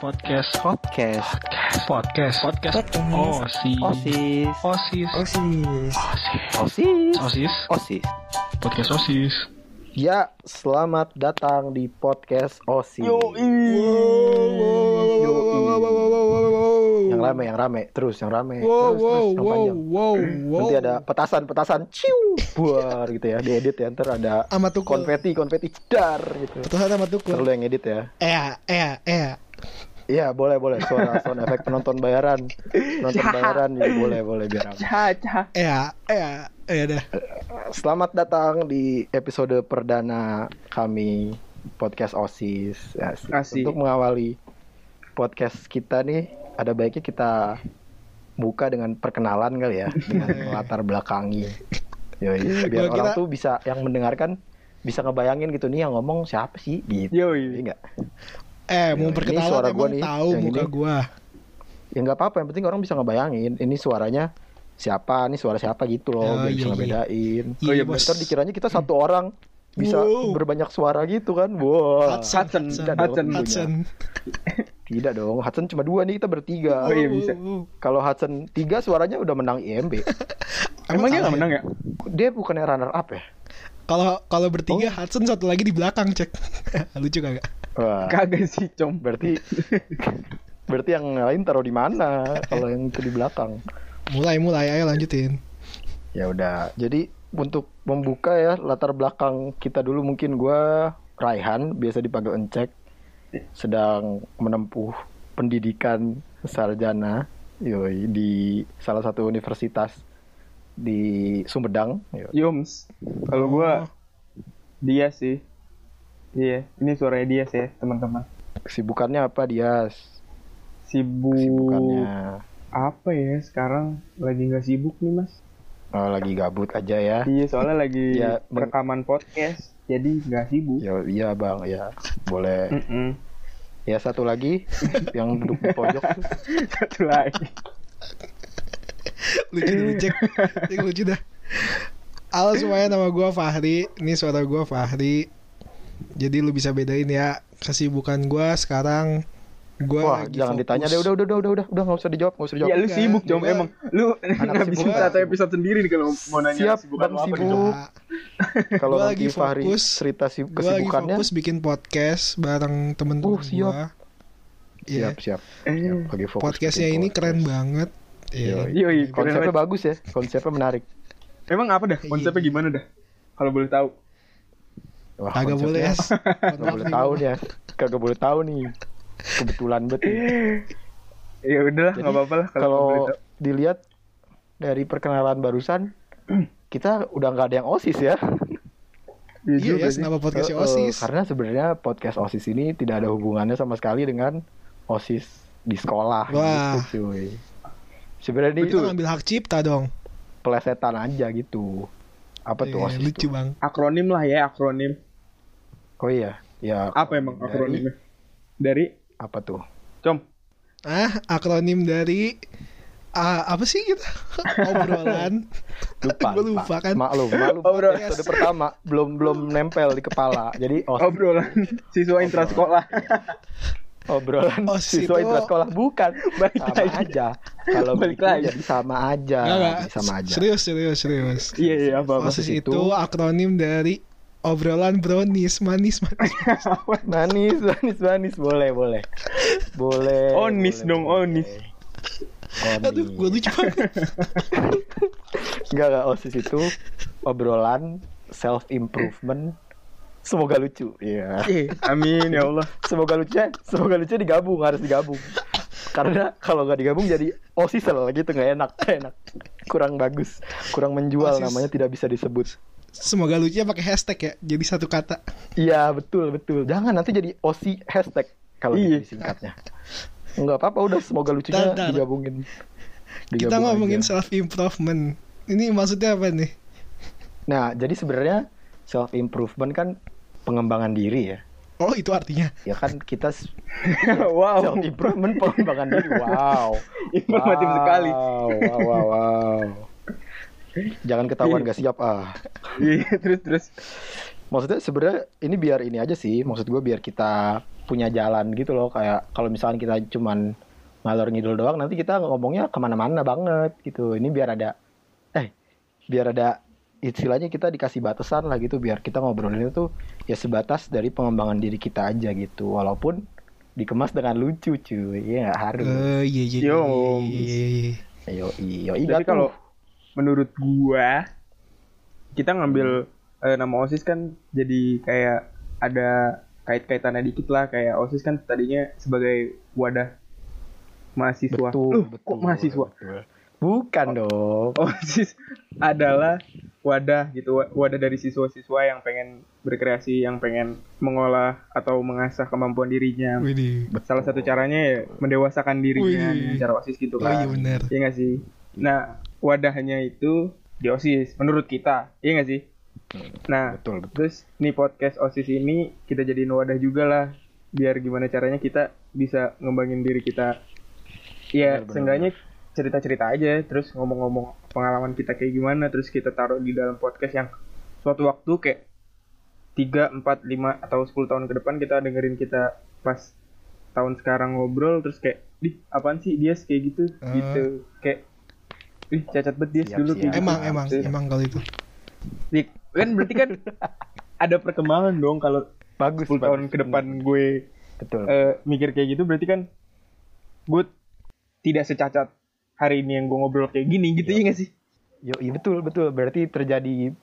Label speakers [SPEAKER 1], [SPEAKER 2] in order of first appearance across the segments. [SPEAKER 1] podcast
[SPEAKER 2] podcast
[SPEAKER 1] podcast podcast
[SPEAKER 3] Podcast.
[SPEAKER 1] podcast osis
[SPEAKER 2] osis
[SPEAKER 1] osis
[SPEAKER 3] Osis.
[SPEAKER 1] osis
[SPEAKER 2] osis
[SPEAKER 1] osis
[SPEAKER 2] osis
[SPEAKER 1] podcast osis
[SPEAKER 2] ya selamat datang di podcast osis yang rame yang rame terus yang rame terus
[SPEAKER 3] Wow, wow,
[SPEAKER 2] terus yang
[SPEAKER 3] wow,
[SPEAKER 2] panjang
[SPEAKER 3] wow, wow.
[SPEAKER 2] nanti ada petasan petasan ciu buar gitu ya diedit ya ntar ada
[SPEAKER 3] Sama Tukul.
[SPEAKER 2] konfeti konfeti dar gitu
[SPEAKER 3] Tuhan sama
[SPEAKER 2] perlu
[SPEAKER 3] Tukul.
[SPEAKER 2] yang edit ya
[SPEAKER 3] Eh, eh, eh.
[SPEAKER 2] iya boleh boleh suara sound efek penonton bayaran
[SPEAKER 3] Ya.
[SPEAKER 2] penonton bayaran juga boleh boleh biar aman.
[SPEAKER 3] Eh, eh, eh dah.
[SPEAKER 2] Selamat datang di episode perdana kami podcast OSIS. Ya, sih.
[SPEAKER 4] Asik.
[SPEAKER 2] Untuk mengawali podcast kita nih, ada baiknya kita buka dengan perkenalan kali ya, dengan latar belakangi. Yoi, biar
[SPEAKER 3] Gua
[SPEAKER 2] orang
[SPEAKER 3] kira-
[SPEAKER 2] tuh bisa yang mendengarkan bisa ngebayangin gitu nih yang ngomong siapa sih gitu.
[SPEAKER 4] Yoi.
[SPEAKER 2] Iya enggak?
[SPEAKER 3] Eh, mau
[SPEAKER 2] Ini
[SPEAKER 3] perkenalan
[SPEAKER 2] suara gua
[SPEAKER 3] emang
[SPEAKER 2] nih,
[SPEAKER 3] tahu
[SPEAKER 2] yang
[SPEAKER 3] muka
[SPEAKER 2] ini.
[SPEAKER 3] gua.
[SPEAKER 2] Ya enggak apa-apa, yang penting orang bisa ngebayangin ini suaranya siapa, ini suara siapa gitu loh, biar bisa
[SPEAKER 3] Oh, iya, iya.
[SPEAKER 2] ngebedain.
[SPEAKER 4] Oh iya,
[SPEAKER 3] bos.
[SPEAKER 2] Ntar dikiranya kita satu orang bisa
[SPEAKER 3] Wow.
[SPEAKER 2] berbanyak suara gitu kan. Wow.
[SPEAKER 3] Hudson,
[SPEAKER 4] Hudson,
[SPEAKER 2] Tidak
[SPEAKER 4] Hudson.
[SPEAKER 2] dong,
[SPEAKER 3] Hudson.
[SPEAKER 2] Tidak dong. Hudson cuma dua nih kita bertiga.
[SPEAKER 4] Oh, iya, bisa.
[SPEAKER 3] Wow, wow,
[SPEAKER 2] Kalau Hudson tiga suaranya udah menang IMB.
[SPEAKER 3] wow.
[SPEAKER 4] Emang dia
[SPEAKER 3] kalah
[SPEAKER 4] nggak
[SPEAKER 3] ya?
[SPEAKER 4] menang ya?
[SPEAKER 2] Dia bukannya runner up ya?
[SPEAKER 3] Kalau kalau bertiga
[SPEAKER 2] Oh.
[SPEAKER 3] Hudson satu lagi di belakang, cek. Lucu kagak?
[SPEAKER 2] Wah.
[SPEAKER 4] Kagak sih, Com.
[SPEAKER 2] Berarti berarti yang lain taruh di mana kalau yang itu di belakang.
[SPEAKER 3] Mulai mulai ayo lanjutin.
[SPEAKER 2] Ya udah. Jadi untuk membuka ya latar belakang kita dulu mungkin gua Raihan biasa dipanggil Encek sedang menempuh pendidikan sarjana yoi di salah satu universitas di Sumedang. Yoi.
[SPEAKER 4] Yums. Kalau
[SPEAKER 1] Oh.
[SPEAKER 4] gua dia sih. Iya, ini suaranya dia sih, teman-teman.
[SPEAKER 2] Kesibukannya apa dia?
[SPEAKER 4] Sibuk
[SPEAKER 2] Kesibukannya
[SPEAKER 3] Hmm.
[SPEAKER 4] apa ya sekarang? Lagi nggak sibuk nih, Mas.
[SPEAKER 2] oh, lagi gabut aja ya.
[SPEAKER 4] Iya, soalnya lagi
[SPEAKER 2] Iya, Bang.
[SPEAKER 4] rekaman podcast, jadi nggak sibuk.
[SPEAKER 2] Ya iya Bang, ya. Boleh.
[SPEAKER 4] Mm-mm.
[SPEAKER 2] Ya satu lagi yang duduk di pojok tuh.
[SPEAKER 4] Satu lagi.
[SPEAKER 3] lucu dulu cek
[SPEAKER 2] Iya.
[SPEAKER 3] Cek, lucu dah halo semuanya nama gua Fahri ini suara gua Fahri jadi lu bisa bedain ya kesibukan gua sekarang gua
[SPEAKER 2] Wah,
[SPEAKER 3] lagi
[SPEAKER 2] jangan
[SPEAKER 3] fokus.
[SPEAKER 2] ditanya deh. Udah, udah, udah, udah, udah, udah nggak usah dijawab, nggak usah dijawab.
[SPEAKER 4] Ya lu
[SPEAKER 3] Enggak,
[SPEAKER 4] sibuk, Com,
[SPEAKER 3] gua-
[SPEAKER 4] emang. Lu ngabisin
[SPEAKER 3] sibuk.
[SPEAKER 4] satu episode sendiri nih kalau mau nanya
[SPEAKER 2] Siap,
[SPEAKER 4] kesibukan
[SPEAKER 2] Bang,
[SPEAKER 4] lu apa nih,
[SPEAKER 2] sibuk.
[SPEAKER 4] Com.
[SPEAKER 3] Nah,
[SPEAKER 2] Kalau
[SPEAKER 3] Gua
[SPEAKER 2] lagi
[SPEAKER 3] lagi
[SPEAKER 2] Fahri
[SPEAKER 3] fokus.
[SPEAKER 2] cerita si
[SPEAKER 3] gua lagi
[SPEAKER 2] kesibukannya, ya,
[SPEAKER 3] fokus bikin podcast bareng temen-temen
[SPEAKER 2] Uh, siap.
[SPEAKER 3] gua Iya, Hmm.
[SPEAKER 2] siap siap.
[SPEAKER 4] Eh,
[SPEAKER 2] siap. Lagi fokus.
[SPEAKER 3] podcastnya
[SPEAKER 2] bikin
[SPEAKER 3] ini
[SPEAKER 2] podcast.
[SPEAKER 3] keren banget Iya.
[SPEAKER 2] Yoi.
[SPEAKER 4] Yoi, keren
[SPEAKER 2] Konsepnya
[SPEAKER 4] banget.
[SPEAKER 2] bagus ya, konsepnya menarik.
[SPEAKER 4] Emang apa dah? Konsepnya gimana dah? Kalau boleh tahu.
[SPEAKER 2] Wah,
[SPEAKER 3] kagak
[SPEAKER 2] konsepnya
[SPEAKER 3] boleh ya. es
[SPEAKER 2] Kagak boleh tahu ya, kagak boleh tahu nih. Kebetulan banget. nih.
[SPEAKER 4] Ya udahlah, nggak apa-apa lah kalau boleh
[SPEAKER 2] Kalau
[SPEAKER 4] tahu.
[SPEAKER 2] dilihat dari perkenalan barusan, kita udah nggak ada yang osis ya.
[SPEAKER 3] iya
[SPEAKER 4] juga
[SPEAKER 3] ya
[SPEAKER 4] sih.
[SPEAKER 3] kenapa podcastnya
[SPEAKER 2] Eh, eh,
[SPEAKER 3] osis
[SPEAKER 2] Karena sebenarnya podcast osis ini tidak ada hubungannya sama sekali dengan osis di sekolah.
[SPEAKER 3] Wah.
[SPEAKER 2] Gitu, cuy. Sebenarnya ini
[SPEAKER 3] kita ngambil hak cipta dong
[SPEAKER 2] pelesetan aja gitu. Apa tuh
[SPEAKER 3] Iya,
[SPEAKER 2] osis?
[SPEAKER 3] lucu bang
[SPEAKER 4] akronim lah ya akronim
[SPEAKER 2] Oh iya, ya
[SPEAKER 4] apa emang
[SPEAKER 2] Dari-
[SPEAKER 4] akronimnya dari
[SPEAKER 2] apa tuh?
[SPEAKER 4] com
[SPEAKER 3] ah akronim dari ah, apa sih gitu obrolan
[SPEAKER 2] Lupa.
[SPEAKER 3] Gua lupa kan.
[SPEAKER 2] Maklum, maklum.
[SPEAKER 4] Oh, bro.
[SPEAKER 2] Episode pertama belum belum nempel di kepala. Jadi os-
[SPEAKER 4] obrolan siswa intra sekolah
[SPEAKER 2] obrolan
[SPEAKER 3] Osis
[SPEAKER 2] siswa
[SPEAKER 3] itu-
[SPEAKER 2] intra sekolah bukan.
[SPEAKER 4] Balik
[SPEAKER 2] sama
[SPEAKER 4] lagi.
[SPEAKER 2] aja. Kalau
[SPEAKER 4] Balik
[SPEAKER 2] begitu
[SPEAKER 4] lagi.
[SPEAKER 2] jadi sama aja.
[SPEAKER 3] Nggak, nggak.
[SPEAKER 2] Jadi sama aja.
[SPEAKER 3] serius serius serius
[SPEAKER 4] iya iya apa apa
[SPEAKER 3] osis
[SPEAKER 2] itu-
[SPEAKER 3] itu akronim dari obrolan brownies manis
[SPEAKER 2] Iya.
[SPEAKER 3] manis
[SPEAKER 2] Manis, manis, manis. Boleh, boleh. Boleh.
[SPEAKER 4] Onis
[SPEAKER 2] boleh,
[SPEAKER 4] dong,
[SPEAKER 2] boleh.
[SPEAKER 4] onis.
[SPEAKER 2] Onis.
[SPEAKER 3] aduh gue lucu banget
[SPEAKER 2] Enggak, enggak. Osis itu obrolan self improvement. Semoga lucu. Iya.
[SPEAKER 4] Eh, amin ya Allah
[SPEAKER 2] Semoga lucunya, semoga lucu digabung, harus digabung. Karena kalau nggak digabung jadi osisel gitu nggak enak, nggak enak. Kurang bagus, kurang menjual
[SPEAKER 3] Osis.
[SPEAKER 2] namanya tidak bisa disebut.
[SPEAKER 3] semoga lucunya pakai hashtag ya jadi satu kata
[SPEAKER 2] Iya betul betul. Jangan nanti jadi osi hashtag kalau
[SPEAKER 4] Iya.
[SPEAKER 2] gitu singkatnya. Enggak apa-apa udah semoga lucunya
[SPEAKER 3] Tar, tar.
[SPEAKER 2] digabungin.
[SPEAKER 3] kita
[SPEAKER 2] Digabung
[SPEAKER 3] ngomongin
[SPEAKER 2] Iya, aja.
[SPEAKER 3] self improvement ini maksudnya apa nih
[SPEAKER 2] Nah, jadi sebenarnya self improvement kan pengembangan diri ya.
[SPEAKER 3] oh itu artinya
[SPEAKER 2] Ya kan kita s-
[SPEAKER 4] wow
[SPEAKER 2] self improvement pengembangan diri. Wow.
[SPEAKER 4] Informatif sekali.
[SPEAKER 2] Wow, wow, wow. wow. Jangan ketahuan gak siap ah.
[SPEAKER 4] iya terus terus
[SPEAKER 2] Maksudnya sebenarnya ini biar ini aja sih. Maksud gue biar kita punya jalan gitu loh kayak kalau misalkan kita cuman ngalor ngidul doang nanti kita ngomongnya kemana-mana banget gitu ini biar ada eh biar ada istilahnya kita dikasih batasan lah gitu biar kita ngobrolinnya tuh ya sebatas dari pengembangan diri kita aja gitu walaupun dikemas dengan lucu cuy ya nggak harus
[SPEAKER 3] Eh, iya iya iya,
[SPEAKER 4] Yo.
[SPEAKER 3] iya, iya, iya.
[SPEAKER 2] yo yo
[SPEAKER 4] Jadi kalau menurut gua kita ngambil
[SPEAKER 3] Hmm.
[SPEAKER 4] eh, nama OSIS kan jadi kayak ada kait-kaitannya dikit lah kayak OSIS kan tadinya sebagai wadah mahasiswa.
[SPEAKER 2] betul,
[SPEAKER 4] Loh,
[SPEAKER 2] betul
[SPEAKER 4] kok mahasiswa?
[SPEAKER 2] betul. bukan dong
[SPEAKER 4] OSIS adalah wadah gitu, wa- wadah dari siswa-siswa yang pengen berkreasi, yang pengen mengolah atau mengasah kemampuan dirinya.
[SPEAKER 3] Widih.
[SPEAKER 4] Salah satu caranya ya mendewasakan dirinya
[SPEAKER 3] Oh. Wih.
[SPEAKER 4] dengan cara OSIS gitu
[SPEAKER 3] Oh iya
[SPEAKER 4] kan.
[SPEAKER 3] benar.
[SPEAKER 4] Iya nggak sih? Nah, wadahnya itu di OSIS menurut kita. Iya nggak sih? Nah,
[SPEAKER 2] betul betul
[SPEAKER 4] terus nih podcast OSIS ini kita jadiin wadah juga lah biar gimana caranya kita bisa ngembangin diri kita. Ya,
[SPEAKER 2] Benar, benar,
[SPEAKER 4] seenggaknya cerita-cerita aja terus ngomong-ngomong pengalaman kita kayak gimana terus kita taruh di dalam podcast yang suatu waktu kayak 3, 4, 5 atau 10 tahun ke depan kita dengerin kita pas tahun sekarang ngobrol terus kayak di apaan sih dia kayak gitu
[SPEAKER 3] Ah.
[SPEAKER 4] gitu kayak ih cacat bet dia
[SPEAKER 2] Hmm. Siap,
[SPEAKER 4] dulu kayak
[SPEAKER 2] siap.
[SPEAKER 4] gitu."
[SPEAKER 3] Emang emang
[SPEAKER 4] Terus-
[SPEAKER 3] emang kalau itu.
[SPEAKER 4] Dik, kan berarti kan ada perkembangan dong kalau
[SPEAKER 2] bagus
[SPEAKER 4] 10 tahun
[SPEAKER 2] bagus.
[SPEAKER 4] ke depan gue
[SPEAKER 2] betul
[SPEAKER 4] eh, mikir kayak gitu berarti kan gue tidak secacat hari ini yang gue ngobrol kayak gini gitu
[SPEAKER 3] Iya.
[SPEAKER 4] ya gak sih?
[SPEAKER 2] yo betul betul berarti terjadi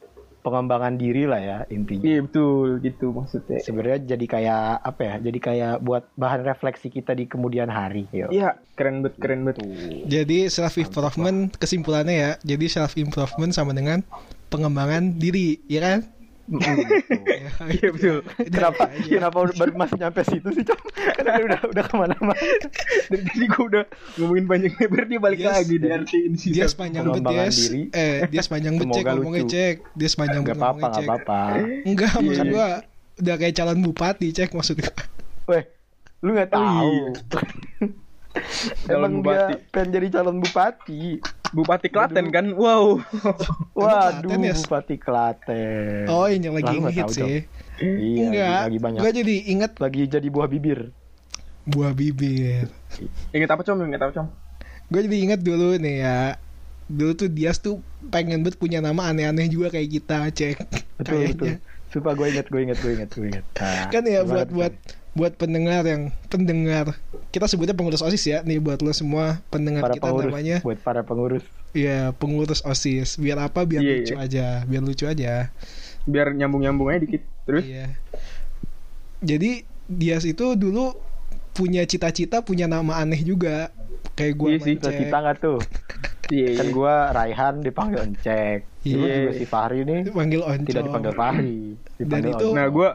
[SPEAKER 2] pengembangan diri lah ya intinya
[SPEAKER 4] Iya betul gitu maksudnya.
[SPEAKER 2] sebenarnya jadi kayak apa ya jadi kayak buat bahan refleksi kita di kemudian hari yo
[SPEAKER 4] Iya keren bet keren bet.
[SPEAKER 3] Jadi self improvement kesimpulannya ya. Jadi self improvement sama dengan pengembangan diri, ya kan?
[SPEAKER 2] Mm, betul.
[SPEAKER 3] Ya,
[SPEAKER 4] Iya betul.
[SPEAKER 2] kenapa kenapa udah baru masih nyampe situ sih Cok? Kan udah udah kemana-mana
[SPEAKER 4] Dari tadi gue udah ngomongin panjang lebar dia balik
[SPEAKER 3] Yes.
[SPEAKER 4] lagi diartiin sih.
[SPEAKER 3] Dia sepanjang bet
[SPEAKER 2] Pengembangan
[SPEAKER 3] Dias.
[SPEAKER 2] diri.
[SPEAKER 3] Eh, dia sepanjang bet cek
[SPEAKER 2] Semoga
[SPEAKER 3] ngomongnya
[SPEAKER 2] lucu.
[SPEAKER 3] cek. Dia sepanjang bet
[SPEAKER 2] nggak apa-apa
[SPEAKER 3] ngomongnya
[SPEAKER 2] nggak
[SPEAKER 3] cek.
[SPEAKER 2] apa-apa
[SPEAKER 3] Enggak, maksud
[SPEAKER 4] Iya.
[SPEAKER 3] gua udah kayak calon bupati cek maksud gua.
[SPEAKER 2] weh lu nggak
[SPEAKER 4] Oh,
[SPEAKER 2] tahu
[SPEAKER 4] iya. Calon
[SPEAKER 2] emang
[SPEAKER 4] bupati.
[SPEAKER 2] dia pengen jadi calon bupati
[SPEAKER 4] Bupati Klaten kan, wow.
[SPEAKER 2] waduh
[SPEAKER 3] Klaten ya?
[SPEAKER 2] bupati Klaten
[SPEAKER 3] Oh, ini yang lagi
[SPEAKER 2] Lah, lu Iya. nggak
[SPEAKER 3] ngehit
[SPEAKER 2] tahu
[SPEAKER 3] sih.
[SPEAKER 2] dong. iya
[SPEAKER 3] Enggak.
[SPEAKER 2] lagi banyak
[SPEAKER 3] Gua jadi inget
[SPEAKER 2] lagi jadi buah bibir
[SPEAKER 3] buah bibir.
[SPEAKER 4] Ingat apa com? Ingat apa com?
[SPEAKER 3] Gua jadi inget dulu nih ya. Dulu tuh Dias tuh pengen bet punya nama aneh-aneh juga kayak kita cek.
[SPEAKER 2] betul betul
[SPEAKER 3] Kayaknya.
[SPEAKER 2] Sumpah gue inget, gue inget, gue inget, gue inget. Nah,
[SPEAKER 3] kan
[SPEAKER 2] gimana
[SPEAKER 3] ya buat
[SPEAKER 2] tuh?
[SPEAKER 3] buat buat pendengar yang pendengar kita sebutnya pengurus osis ya nih buat lo semua pendengar
[SPEAKER 2] para
[SPEAKER 3] kita
[SPEAKER 2] pengurus,
[SPEAKER 3] namanya
[SPEAKER 2] buat para pengurus.
[SPEAKER 3] ya pengurus osis biar apa biar
[SPEAKER 4] Iya,
[SPEAKER 3] lucu aja biar lucu aja
[SPEAKER 4] Biar nyambung nyambung aja dikit. Terus
[SPEAKER 3] iya jadi Dias itu dulu punya cita-cita punya nama aneh juga kayak gua
[SPEAKER 4] Iya
[SPEAKER 3] sama
[SPEAKER 4] sih,
[SPEAKER 3] Ece.
[SPEAKER 2] Cita-cita nggak tuh?
[SPEAKER 4] iya
[SPEAKER 2] Kan
[SPEAKER 4] iya.
[SPEAKER 2] gue Raihan dipanggil Encek. Dulu
[SPEAKER 4] Iya.
[SPEAKER 2] juga si Fahri nih
[SPEAKER 3] dipanggil oncom
[SPEAKER 2] tidak dipanggil Fahri. Dipanggil
[SPEAKER 3] itu-
[SPEAKER 2] Oncek.
[SPEAKER 4] Nah gue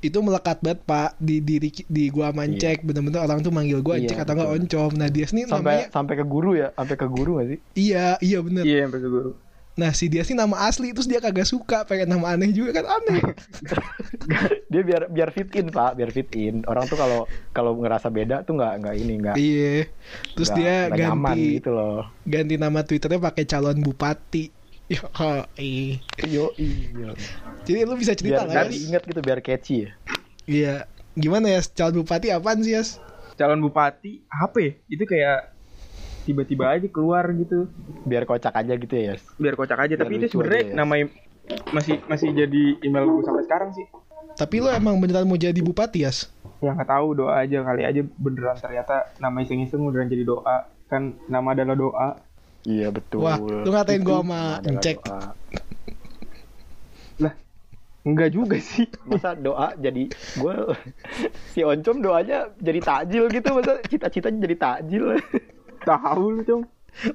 [SPEAKER 3] itu melekat banget pak di diri di gua mancek bener-bener orang tuh manggil gua
[SPEAKER 2] Iya,
[SPEAKER 3] Encek atau nggak
[SPEAKER 2] betul.
[SPEAKER 3] oncom nah Dias nih
[SPEAKER 2] sampai
[SPEAKER 3] namanya
[SPEAKER 2] sampai ke guru ya, sampai ke guru gak sih?
[SPEAKER 3] iya iya bener
[SPEAKER 4] iya sampai ke guru.
[SPEAKER 3] Nah si dia sih nama asli Terus dia kagak suka Pengen nama aneh juga kan aneh
[SPEAKER 2] Dia biar biar fit in pak, biar fit in. Orang tuh kalau kalau ngerasa beda tuh nggak nggak ini nggak.
[SPEAKER 3] Iya Terus
[SPEAKER 2] nggak-
[SPEAKER 3] dia
[SPEAKER 2] nggak nyaman
[SPEAKER 3] ganti
[SPEAKER 2] gitu loh.
[SPEAKER 3] Ganti nama twitternya pakai calon bupati Yo, eh.
[SPEAKER 2] Yo iya.
[SPEAKER 3] Jadi lu bisa cerita
[SPEAKER 2] Biar
[SPEAKER 3] lah
[SPEAKER 2] biar
[SPEAKER 3] Yas.
[SPEAKER 2] diingat gitu, biar catchy. ya.
[SPEAKER 3] Iya Gimana ya calon bupati apaan sih Yas?
[SPEAKER 4] calon bupati apa ya? Itu kayak tiba-tiba aja keluar gitu.
[SPEAKER 2] Biar kocak aja gitu ya. Yas.
[SPEAKER 4] Biar kocak aja,
[SPEAKER 2] Biar
[SPEAKER 4] tapi itu
[SPEAKER 2] lucu
[SPEAKER 4] sebenarnya
[SPEAKER 2] aja ya.
[SPEAKER 4] nama im- masih masih jadi email gue sampai sekarang sih.
[SPEAKER 3] Tapi lu emang beneran mau jadi bupati Yas?
[SPEAKER 4] Ya nggak tahu doa aja kali aja beneran ternyata nama iseng-iseng beneran jadi doa. Kan nama adalah doa.
[SPEAKER 2] Iya betul.
[SPEAKER 3] Wah, lu ngatain gua
[SPEAKER 2] Itu
[SPEAKER 3] sama
[SPEAKER 2] adalah
[SPEAKER 3] Encek.
[SPEAKER 2] doa.
[SPEAKER 4] Lah, enggak juga sih.
[SPEAKER 2] masa doa jadi gue si oncom doanya jadi takjil gitu masa cita-citanya jadi takjil
[SPEAKER 4] Tahu lu, Cung.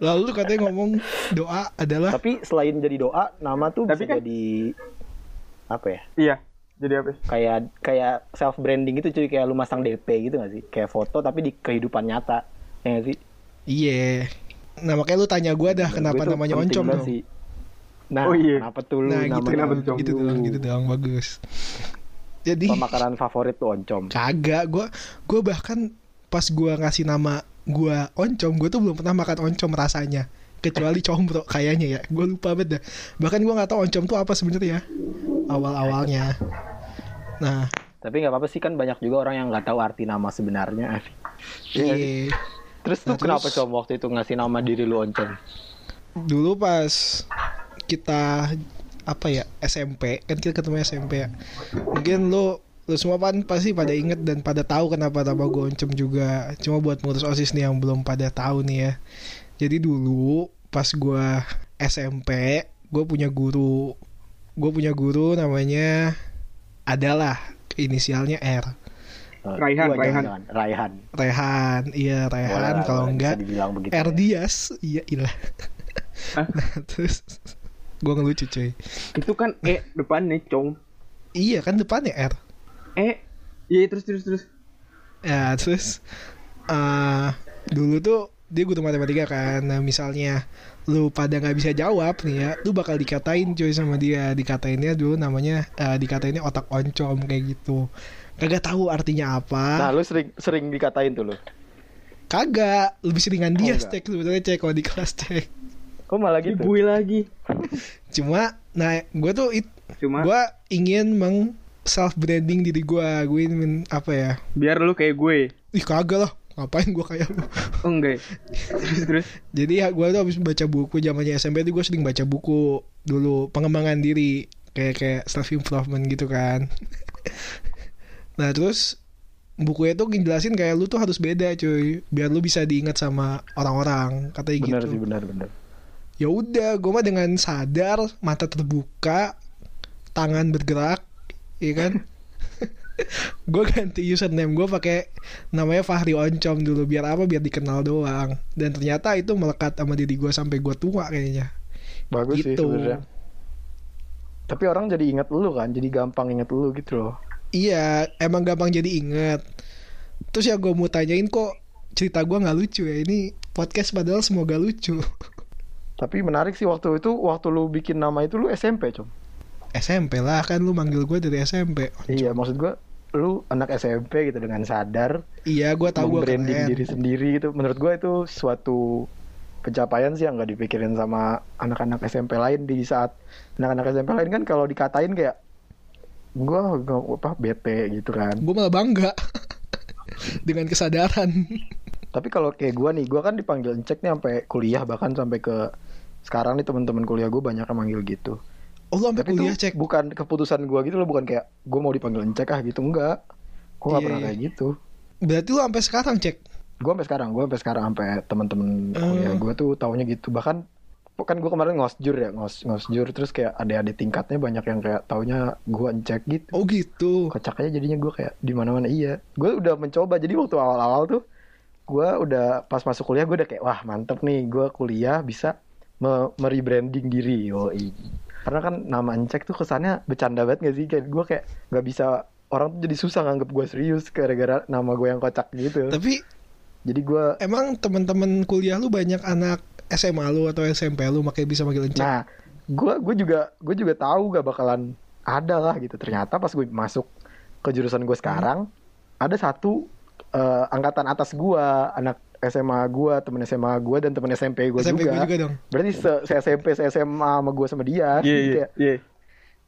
[SPEAKER 3] Lalu lu katanya ngomong doa adalah
[SPEAKER 2] tapi selain jadi doa nama tuh
[SPEAKER 4] Tapi
[SPEAKER 2] bisa
[SPEAKER 4] kan-
[SPEAKER 2] jadi apa ya
[SPEAKER 4] Iya. Jadi apa? ya?
[SPEAKER 2] kayak kayak self branding gitu cuy kayak lu masang DP gitu gak sih kayak foto tapi di kehidupan nyata ya gak sih
[SPEAKER 3] Iya Nah makanya lu tanya gua dah
[SPEAKER 2] Menurut
[SPEAKER 3] Kenapa
[SPEAKER 2] gue tuh
[SPEAKER 3] namanya
[SPEAKER 2] penting
[SPEAKER 3] oncom
[SPEAKER 2] banget
[SPEAKER 3] dong
[SPEAKER 2] sih. nah
[SPEAKER 4] Oh, iya.
[SPEAKER 2] kenapa tuh lu
[SPEAKER 3] Nah gitu
[SPEAKER 2] namanya Hmm.
[SPEAKER 4] kenapa
[SPEAKER 3] dong,
[SPEAKER 4] oncom
[SPEAKER 3] gitu
[SPEAKER 2] lu?
[SPEAKER 3] dong Gitu dong bagus Jadi
[SPEAKER 2] Apa makanan favorit tuh oncom
[SPEAKER 3] Kagak, gue gua bahkan pas gua ngasih nama gua oncom, gue tuh belum pernah makan oncom rasanya. Kecuali combro kayaknya ya, gue lupa banget dah. Bahkan gua nggak tahu oncom tuh apa sebenarnya awal-awalnya. Nah,
[SPEAKER 2] Tapi nggak apa-apa sih kan banyak juga orang yang nggak tahu arti nama sebenarnya. Iya nggak sih?
[SPEAKER 3] Iya.
[SPEAKER 2] Terus tuh
[SPEAKER 3] Nah,
[SPEAKER 2] kenapa
[SPEAKER 3] terus-
[SPEAKER 2] com waktu itu ngasih nama diri lu oncom?
[SPEAKER 3] Dulu pas kita apa ya SMP kan kita ketemu SMP ya. Mungkin lu lu semua pan pasti pada inget dan pada tahu kenapa nama gue oncem juga. Cuma buat ngurus osis nih yang belum pada tahu nih ya. Jadi dulu pas gue SMP gue punya guru gue punya guru namanya adalah inisialnya R.
[SPEAKER 2] Eh,
[SPEAKER 4] Raihan,
[SPEAKER 2] gua
[SPEAKER 4] Raihan.
[SPEAKER 2] jangan-jangan. Raihan.
[SPEAKER 3] Rehan, iya
[SPEAKER 2] Boleh
[SPEAKER 3] Rehan
[SPEAKER 2] lah,
[SPEAKER 3] kalau
[SPEAKER 2] boleh,
[SPEAKER 3] enggak
[SPEAKER 2] bisa dibilang begitu.
[SPEAKER 3] R
[SPEAKER 2] ya.
[SPEAKER 3] Dias, iya ilah.
[SPEAKER 4] Hah?
[SPEAKER 3] nah, terus gue ngelucu cuy.
[SPEAKER 4] Itu kan E depannya, Cong.
[SPEAKER 3] Iya kan depannya R.
[SPEAKER 4] E. Iya, terus terus terus.
[SPEAKER 3] Ya terus eh dulu tuh dia guru matematika kan. Nah, misalnya lu pada nggak bisa jawab nih ya, lu bakal dikatain cuy sama dia. Dikatainnya dulu namanya eh, dikatainnya otak oncom kayak gitu. Kagak tahu
[SPEAKER 2] Nah,
[SPEAKER 3] artinya apa.
[SPEAKER 2] lu sering sering dikatain tuh lu.
[SPEAKER 3] Kagak, lebih seringan dia
[SPEAKER 2] enggak.
[SPEAKER 3] cek sebetulnya cek kalau di kelas cek.
[SPEAKER 2] Kok malah gitu?
[SPEAKER 3] Iya,
[SPEAKER 4] Dibui lagi.
[SPEAKER 3] Cuma nah gue tuh it,
[SPEAKER 4] Cuma
[SPEAKER 3] gue ingin meng self branding diri gue gue ingin apa ya
[SPEAKER 4] biar lu kayak gue.
[SPEAKER 3] ih kagak lah ngapain gue kayak lu
[SPEAKER 4] Oh, enggak. ya? terus terus.
[SPEAKER 3] jadi ya gue tuh habis baca buku zamannya SMP tuh gue sering baca buku dulu pengembangan diri kayak kayak self improvement gitu kan nah terus bukunya tuh ngejelasin kayak lu tuh harus beda cuy biar lu bisa diingat sama orang-orang katanya
[SPEAKER 2] Benar
[SPEAKER 3] gitu
[SPEAKER 2] sih, benar, benar.
[SPEAKER 3] ya udah gue mah dengan sadar mata terbuka tangan bergerak ya kan gue ganti username gue pakai namanya Fahri Oncom dulu biar apa biar dikenal doang dan ternyata itu melekat sama diri gue sampai gue tua kayaknya
[SPEAKER 2] Bagus sih
[SPEAKER 3] gitu
[SPEAKER 2] sebenarnya. Tapi orang jadi ingat lu kan, jadi gampang ingat lu gitu loh.
[SPEAKER 3] iya emang gampang jadi inget terus ya gue mau tanyain kok cerita gue nggak lucu ya ini podcast padahal semoga lucu
[SPEAKER 2] Tapi menarik sih waktu itu, waktu lu bikin nama itu lu SMP, Com.
[SPEAKER 3] SMP lah kan lu manggil gue dari SMP
[SPEAKER 2] Iya, maksud gua lu anak SMP gitu dengan sadar
[SPEAKER 3] iya gue tahu gue
[SPEAKER 2] membranding
[SPEAKER 3] keren
[SPEAKER 2] diri sendiri gitu. Menurut gua itu suatu pencapaian sih yang nggak dipikirin sama anak-anak SMP lain di saat anak-anak SMP lain kan kalau dikatain kayak gua nggak apa bete gitu kan.
[SPEAKER 3] gue malah bangga dengan kesadaran
[SPEAKER 2] Tapi kalau kayak gua nih, gua kan dipanggil encek nih sampai kuliah bahkan sampai ke sekarang nih teman-teman kuliah gua banyak yang manggil gitu.
[SPEAKER 3] oh lu sampai
[SPEAKER 2] Tapi
[SPEAKER 3] kuliah
[SPEAKER 2] itu
[SPEAKER 3] cek
[SPEAKER 2] bukan keputusan gua gitu loh, bukan kayak gua mau dipanggil encek ah gitu enggak. Gua nggak
[SPEAKER 3] Iya,
[SPEAKER 2] pernah
[SPEAKER 3] iya.
[SPEAKER 2] kayak gitu.
[SPEAKER 3] berarti lu sampai sekarang cek
[SPEAKER 2] Gua sampai sekarang, gua sampai sekarang sampai teman-teman
[SPEAKER 3] Hmm.
[SPEAKER 2] kuliah gua tuh taunya gitu. Bahkan kan gua kemarin ngosjur ya, ngos ngosjur terus kayak adik-adik tingkatnya banyak yang kayak taunya gua encek gitu.
[SPEAKER 3] oh gitu
[SPEAKER 2] kocak aja jadinya gue kayak di mana mana iya gue udah mencoba jadi waktu awal awal tuh gue udah pas masuk kuliah gue udah kayak wah mantep nih gue kuliah bisa me- merebranding diri yoi karena kan nama encek tuh kesannya bercanda banget gak sih kayak gue kayak nggak bisa orang tuh jadi susah nganggep gue serius gara-gara nama gue yang kocak gitu
[SPEAKER 3] tapi
[SPEAKER 2] jadi gue
[SPEAKER 3] emang teman-teman kuliah lu banyak anak SMA lu atau SMP lu makanya bisa manggil encek
[SPEAKER 2] nah gue gue juga gue juga tahu gak bakalan ada lah gitu ternyata pas gue masuk ke jurusan gue sekarang ada satu eh, angkatan atas gue anak SMA gue temen SMA gue dan temen SMP gue
[SPEAKER 3] SMP gue
[SPEAKER 2] juga.
[SPEAKER 3] juga dong
[SPEAKER 2] berarti se, se SMP se SMA sama gue sama
[SPEAKER 4] Iya,
[SPEAKER 2] dia Jadi
[SPEAKER 4] iya,
[SPEAKER 2] kayak
[SPEAKER 4] iya.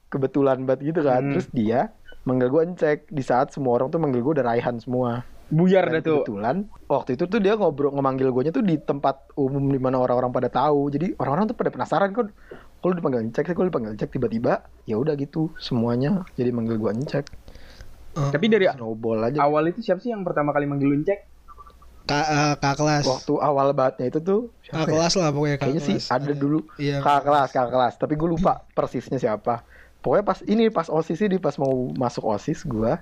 [SPEAKER 2] kebetulan banget gitu kan
[SPEAKER 4] Hmm.
[SPEAKER 2] terus dia manggil gue encek di saat semua orang tuh manggil gue udah Raihan semua
[SPEAKER 4] Buyar
[SPEAKER 2] dan
[SPEAKER 4] dah tuh.
[SPEAKER 2] kebetulan waktu itu tuh dia ngobrol ngemanggil gue tuh di tempat umum di mana orang-orang pada tahu jadi orang-orang tuh pada penasaran kan kalau dipanggil encek sih kalau dipanggil encek tiba-tiba ya udah gitu semuanya jadi manggil gue encek
[SPEAKER 3] Eh,
[SPEAKER 4] Tapi dari
[SPEAKER 2] snowball aja
[SPEAKER 4] awal itu siapa sih yang pertama kali manggil lu Encek?
[SPEAKER 3] ka- eh, kakak kelas
[SPEAKER 2] waktu awal bangetnya itu tuh siapa
[SPEAKER 3] kakak
[SPEAKER 2] ya?
[SPEAKER 3] kelas lah pokoknya kakak
[SPEAKER 2] kayaknya sih
[SPEAKER 3] kelas.
[SPEAKER 2] ada dulu
[SPEAKER 3] iya
[SPEAKER 2] kakak kelas kakak kelas tapi gue lupa persisnya siapa pokoknya pas ini pas osis ini pas mau masuk osis gue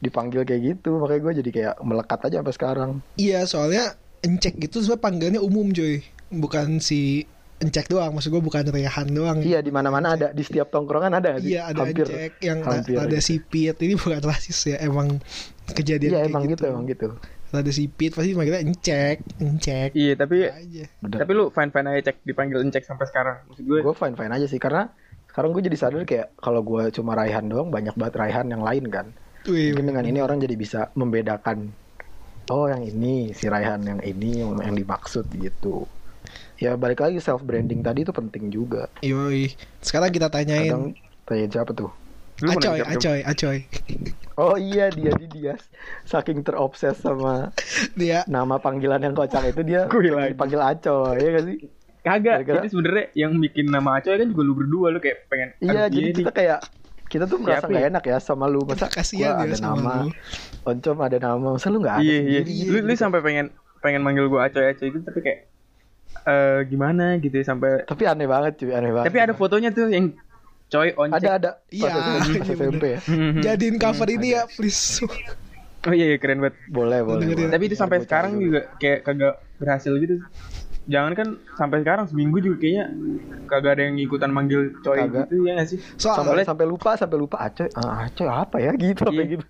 [SPEAKER 2] dipanggil kayak gitu makanya gue jadi kayak melekat aja sampai sekarang
[SPEAKER 3] iya soalnya encek gitu sebenarnya panggilannya umum cuy bukan si encek doang maksud gue bukan Rehan doang
[SPEAKER 2] iya di mana mana ada di setiap tongkrongan ada nggak sih?
[SPEAKER 3] Iya ada
[SPEAKER 2] hampir
[SPEAKER 3] Jack yang
[SPEAKER 2] hampir
[SPEAKER 3] ada
[SPEAKER 2] gitu.
[SPEAKER 3] sipit ini bukan rasis ya emang kejadian
[SPEAKER 2] Iya
[SPEAKER 3] kayak
[SPEAKER 2] emang gitu.
[SPEAKER 3] gitu.
[SPEAKER 2] emang gitu.
[SPEAKER 3] Rada sipit pasti manggilnya encek, encek
[SPEAKER 4] Iya, tapi
[SPEAKER 3] aja.
[SPEAKER 4] tapi lu fine fine aja cek dipanggil Encek sampai sekarang. Maksud gue,
[SPEAKER 2] gue fine fine aja sih karena sekarang gue jadi sadar kayak kalau gue cuma Raihan doang banyak banget Raihan yang lain kan.
[SPEAKER 3] Wih,
[SPEAKER 2] Mungkin dengan ini orang jadi bisa membedakan. Oh yang ini si Raihan yang ini yang, yang dimaksud gitu. Ya balik lagi self branding tadi itu penting juga.
[SPEAKER 3] yoi. Sekarang kita tanyain
[SPEAKER 2] Kadang tanya siapa tuh?
[SPEAKER 4] Lu pernah
[SPEAKER 3] Acoy,
[SPEAKER 4] dicap-cap-
[SPEAKER 3] acoy, acoy.
[SPEAKER 2] Oh iya dia di dia saking terobses sama
[SPEAKER 3] Dia
[SPEAKER 2] nama panggilan yang kocak itu dia
[SPEAKER 4] Gue lagi.
[SPEAKER 2] dipanggil Acoy ya gak sih?
[SPEAKER 4] Kagak,
[SPEAKER 2] Gara-gara-
[SPEAKER 4] jadi sebenarnya yang bikin nama Acoy kan juga lu berdua lu kayak pengen
[SPEAKER 2] Iya
[SPEAKER 4] aduh,
[SPEAKER 2] jadi
[SPEAKER 4] ini.
[SPEAKER 2] kita kayak kita tuh merasa
[SPEAKER 4] Siapa
[SPEAKER 2] nggak
[SPEAKER 4] ya?
[SPEAKER 2] enak ya sama lu masa
[SPEAKER 3] Kita kasihan
[SPEAKER 2] gua
[SPEAKER 3] ya
[SPEAKER 2] ada
[SPEAKER 3] sama
[SPEAKER 2] nama
[SPEAKER 3] lu.
[SPEAKER 2] Oncom ada nama masa lu nggak ada
[SPEAKER 4] Iya, iya.
[SPEAKER 2] sendiri? gitu.
[SPEAKER 4] Lu lu sampai pengen pengen manggil gua Acoy Acoy gitu tapi kayak eh gimana gitu ya sampai
[SPEAKER 2] tapi aneh banget cuy aneh banget
[SPEAKER 4] tapi ada fotonya tuh yang coy oncek
[SPEAKER 2] ada ada
[SPEAKER 3] Iya,
[SPEAKER 2] pas SMP, pas
[SPEAKER 3] iya
[SPEAKER 2] SMP ya
[SPEAKER 4] Mhm.
[SPEAKER 3] jadiin cover ini ya, please.
[SPEAKER 4] oh iya, iya keren banget
[SPEAKER 2] boleh boleh, Iya,
[SPEAKER 3] dengerin.
[SPEAKER 2] boleh.
[SPEAKER 4] tapi itu sampai sekarang juga kayak kagak berhasil gitu jangan kan sampai sekarang seminggu juga kayaknya kagak ada yang ikutan manggil coy
[SPEAKER 2] Kagak.
[SPEAKER 4] gitu ya nggak sih
[SPEAKER 3] Soal
[SPEAKER 2] sampai
[SPEAKER 4] Boleh.
[SPEAKER 2] sampai lupa sampai lupa Acoy ah, Acoy apa ya gitu apa
[SPEAKER 4] Iya.
[SPEAKER 2] gitu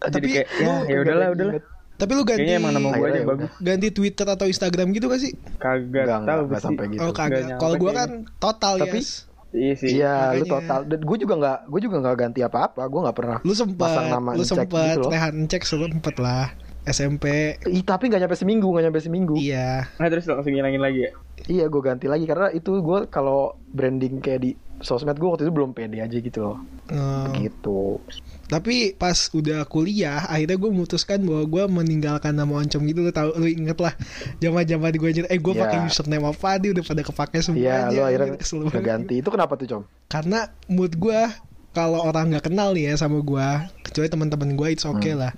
[SPEAKER 4] jadi
[SPEAKER 3] Tapi
[SPEAKER 4] kayak ya
[SPEAKER 3] lu
[SPEAKER 4] ya udahlah
[SPEAKER 2] Nggak
[SPEAKER 4] udahlah
[SPEAKER 2] inget.
[SPEAKER 3] tapi lu ganti
[SPEAKER 4] kayaknya emang nama gua
[SPEAKER 2] Akhirnya
[SPEAKER 4] aja
[SPEAKER 2] ya
[SPEAKER 4] bagus
[SPEAKER 3] ganti Twitter atau Instagram gitu gak sih?
[SPEAKER 4] kagak
[SPEAKER 2] nggak nggak
[SPEAKER 4] tahu
[SPEAKER 2] nggak
[SPEAKER 4] pasti.
[SPEAKER 2] sampai gitu
[SPEAKER 3] Oh kagak.
[SPEAKER 4] nyampe
[SPEAKER 3] Kalau gua
[SPEAKER 4] kayaknya.
[SPEAKER 3] kan total
[SPEAKER 2] Tapi-
[SPEAKER 3] yes.
[SPEAKER 4] iya sih
[SPEAKER 2] Iya, lu
[SPEAKER 3] Makanya.
[SPEAKER 2] total. Dan gue juga nggak, gue juga nggak ganti apa-apa. Gue nggak pernah.
[SPEAKER 3] Lu sempet,
[SPEAKER 2] Pasang nama
[SPEAKER 3] lu
[SPEAKER 2] Encek
[SPEAKER 3] sempet
[SPEAKER 2] gitu loh.
[SPEAKER 3] rehan cek sempet lah. SMP.
[SPEAKER 2] Ih, tapi nggak nyampe seminggu, nggak nyampe seminggu.
[SPEAKER 3] Iya.
[SPEAKER 4] nah terus langsung ngilangin lagi ya
[SPEAKER 2] Iya, gue ganti lagi karena itu gue kalau branding kayak di sosmed gue waktu itu belum pede aja gitu loh.
[SPEAKER 3] Oh.
[SPEAKER 2] Gitu.
[SPEAKER 3] Tapi pas udah kuliah, akhirnya gue memutuskan bahwa gue meninggalkan nama oncom gitu. Lu tahu, lu inget lah, zaman zaman gue jadi, eh gue
[SPEAKER 2] Iya.
[SPEAKER 3] pakai username apa nih udah pada kepake
[SPEAKER 2] Iya,
[SPEAKER 3] semuanya.
[SPEAKER 2] lu akhirnya
[SPEAKER 3] Kesel
[SPEAKER 2] nggak
[SPEAKER 3] banget. gitu.
[SPEAKER 2] ganti. Itu kenapa tuh, Com?
[SPEAKER 3] Karena mood gue kalau orang nggak kenal nih ya sama gue, kecuali teman-teman gue it's okay
[SPEAKER 2] Hmm.
[SPEAKER 3] lah.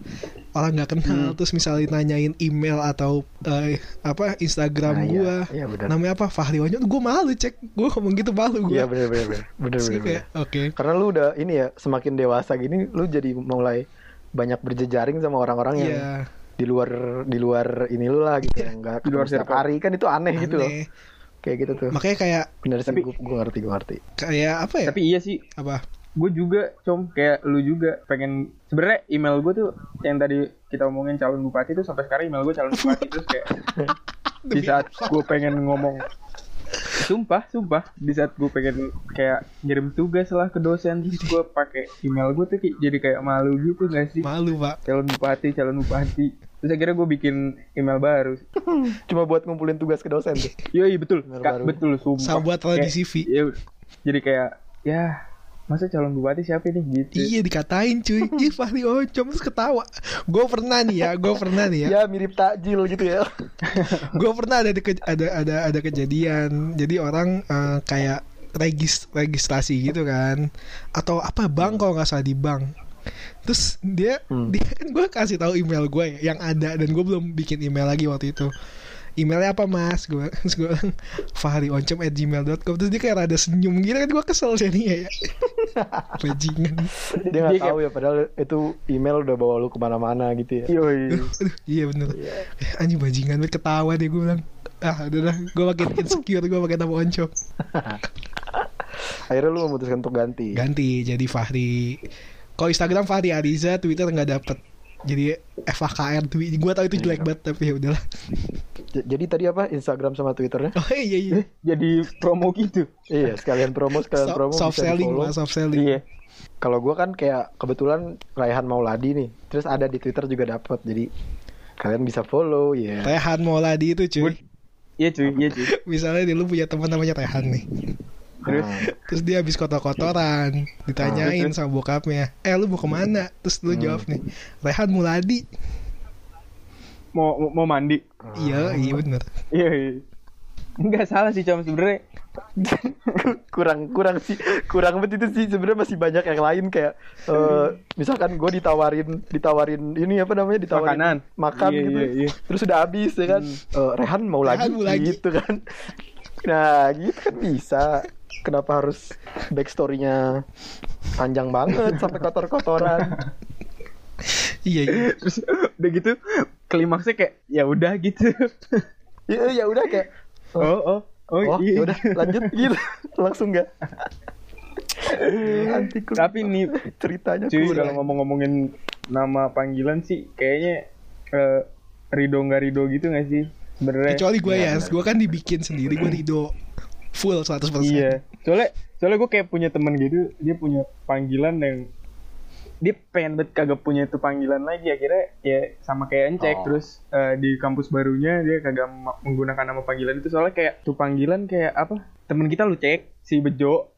[SPEAKER 3] Orang nggak kenal, terus misalnya nanyain email atau eh, apa
[SPEAKER 2] Nah,
[SPEAKER 3] Instagram
[SPEAKER 2] iya.
[SPEAKER 3] gue,
[SPEAKER 2] Iya, benar.
[SPEAKER 3] namanya apa Fahri Oncom, gue malu cek, gue ngomong gitu malu gue.
[SPEAKER 2] Iya, bener bener bener. Bener
[SPEAKER 3] Terus
[SPEAKER 2] bener.
[SPEAKER 3] gua
[SPEAKER 2] bener.
[SPEAKER 3] kayak, oke.
[SPEAKER 2] Karena lu udah ini ya, semakin dewasa gini, lu jadi mulai banyak berjejaring sama orang-orang yang
[SPEAKER 3] Iya.
[SPEAKER 2] di luar di luar ini lu lah gitu yang
[SPEAKER 4] Di
[SPEAKER 2] nggak
[SPEAKER 4] luar
[SPEAKER 2] ketemu setiap
[SPEAKER 4] circle.
[SPEAKER 2] hari kan itu aneh, gitu loh
[SPEAKER 3] Aneh.
[SPEAKER 2] kayak gitu tuh
[SPEAKER 3] Makanya kayak
[SPEAKER 2] bener sih
[SPEAKER 4] Tapi-
[SPEAKER 2] gue ngerti gue ngerti
[SPEAKER 3] kayak apa ya?
[SPEAKER 4] tapi iya sih
[SPEAKER 3] apa?
[SPEAKER 4] gue juga com kayak lu juga pengen sebenarnya email gue tuh yang tadi kita omongin calon bupati tuh sampai sekarang email gue calon bupati terus kayak di saat gue pengen ngomong sumpah sumpah di saat gue pengen kayak ngirim tugas lah ke dosen terus gue pakai email gue tuh kayak- jadi kayak malu gitu gak sih
[SPEAKER 3] Malu pak.
[SPEAKER 4] calon bupati calon bupati terus akhirnya gue bikin email baru
[SPEAKER 2] cuma buat ngumpulin tugas ke dosen tuh
[SPEAKER 4] yoi betul
[SPEAKER 2] Email
[SPEAKER 4] Kak,
[SPEAKER 2] baru.
[SPEAKER 4] betul sumpah
[SPEAKER 3] Sama buat taruh di
[SPEAKER 4] Kayak-
[SPEAKER 3] CV.
[SPEAKER 4] iya, jadi kayak ya masa calon bupati siapa nih gitu
[SPEAKER 3] Iya dikatain cuy. Ih Fahri Oncom terus ketawa. Gue pernah nih ya, gue pernah nih ya.
[SPEAKER 2] ya mirip takjil gitu ya
[SPEAKER 3] Gue pernah ada di ke- ada ada ada kejadian. Jadi orang eh, kayak regis registrasi gitu kan atau apa bank kalau nggak salah di bank terus dia
[SPEAKER 2] Hmm.
[SPEAKER 3] dia kan gue kasih tahu email gue ya, yang ada dan gue belum bikin email lagi waktu itu emailnya apa mas gue terus gue bilang Fahri Oncom at gmail.com terus dia kayak rada senyum gitu kan gue kesel jadinya ya bajingan
[SPEAKER 4] Dia
[SPEAKER 2] dia nggak
[SPEAKER 3] Iya.
[SPEAKER 4] kayak-
[SPEAKER 2] tahu ya padahal itu email udah bawa lu kemana-mana gitu ya
[SPEAKER 4] yoi
[SPEAKER 3] Aduh, iya bener Eh, anjing bajingan banget ketawa deh gue bilang ah udah lah gue makin insecure gue pakai nama oncom
[SPEAKER 2] akhirnya lu memutuskan untuk ganti
[SPEAKER 3] ganti jadi Fahri kalau Instagram Fahri Ariza Twitter nggak dapet jadi FHKR tweet gue tau itu jelek banget tapi ya udahlah
[SPEAKER 2] J- jadi tadi apa Instagram sama Twitternya
[SPEAKER 3] oh iya iya
[SPEAKER 4] Eh, jadi promo gitu.
[SPEAKER 2] iya sekalian promo sekalian
[SPEAKER 3] So-
[SPEAKER 2] promo
[SPEAKER 3] soft
[SPEAKER 2] bisa
[SPEAKER 3] selling
[SPEAKER 2] di-follow.
[SPEAKER 3] lah soft selling
[SPEAKER 4] Iya.
[SPEAKER 2] kalau gua kan kayak kebetulan Raihan Mauladi nih terus ada di Twitter juga dapat jadi kalian bisa follow ya
[SPEAKER 3] Rehan Mauladi itu cuy
[SPEAKER 4] Good. Iya cuy, iya cuy.
[SPEAKER 3] misalnya dia lu punya teman namanya Rehan nih
[SPEAKER 4] Terus
[SPEAKER 2] Nah. Ah.
[SPEAKER 3] terus dia habis kotor-kotoran ditanyain
[SPEAKER 4] Ah.
[SPEAKER 3] sama bokapnya eh lu mau kemana terus lu jawab nih Rehan Mauladi
[SPEAKER 4] mau mau- mau mandi.
[SPEAKER 3] iya iya bener
[SPEAKER 4] Iya. iya. Enggak salah sih cuma sebenarnya.
[SPEAKER 2] kurang kurang sih kurang banget itu sih sebenarnya masih banyak yang lain kayak eh, misalkan gue ditawarin ditawarin ini apa namanya ditawarin
[SPEAKER 4] Makanan.
[SPEAKER 2] makan
[SPEAKER 4] Iya,
[SPEAKER 2] gitu
[SPEAKER 4] iya, iya. Hmm.
[SPEAKER 2] terus udah habis ya kan Eh, Rehan mau lagi,
[SPEAKER 3] Rehan mau lagi.
[SPEAKER 2] gitu kan nah gitu kan bisa kenapa harus backstorynya panjang banget sampai kotor-kotoran
[SPEAKER 3] iya iya
[SPEAKER 4] Terus udah gitu klimaksnya kayak ya udah gitu.
[SPEAKER 2] ya ya udah kayak
[SPEAKER 4] Oh oh. Oh,
[SPEAKER 2] oh
[SPEAKER 4] iya.
[SPEAKER 2] ya udah lanjut gitu langsung nggak Anti kul-
[SPEAKER 4] Tapi nih
[SPEAKER 2] ceritanya
[SPEAKER 4] cuy
[SPEAKER 2] kurang.
[SPEAKER 4] kalau ngomong-ngomongin nama panggilan sih kayaknya eh, Rido nggak Rido gitu nggak sih? Sebenarnya.
[SPEAKER 3] kecuali gue ya gue kan dibikin sendiri gue Rido full 100%
[SPEAKER 2] kan.
[SPEAKER 4] Iya. Soalnya soalnya gue kayak punya temen gitu, dia punya panggilan yang dia pengen banget kagak punya itu panggilan lagi akhirnya ya sama kayak encek
[SPEAKER 2] Oh.
[SPEAKER 4] terus eh, di kampus barunya dia kagak ma- menggunakan nama panggilan itu soalnya kayak tuh panggilan kayak apa temen kita lu cek si bejo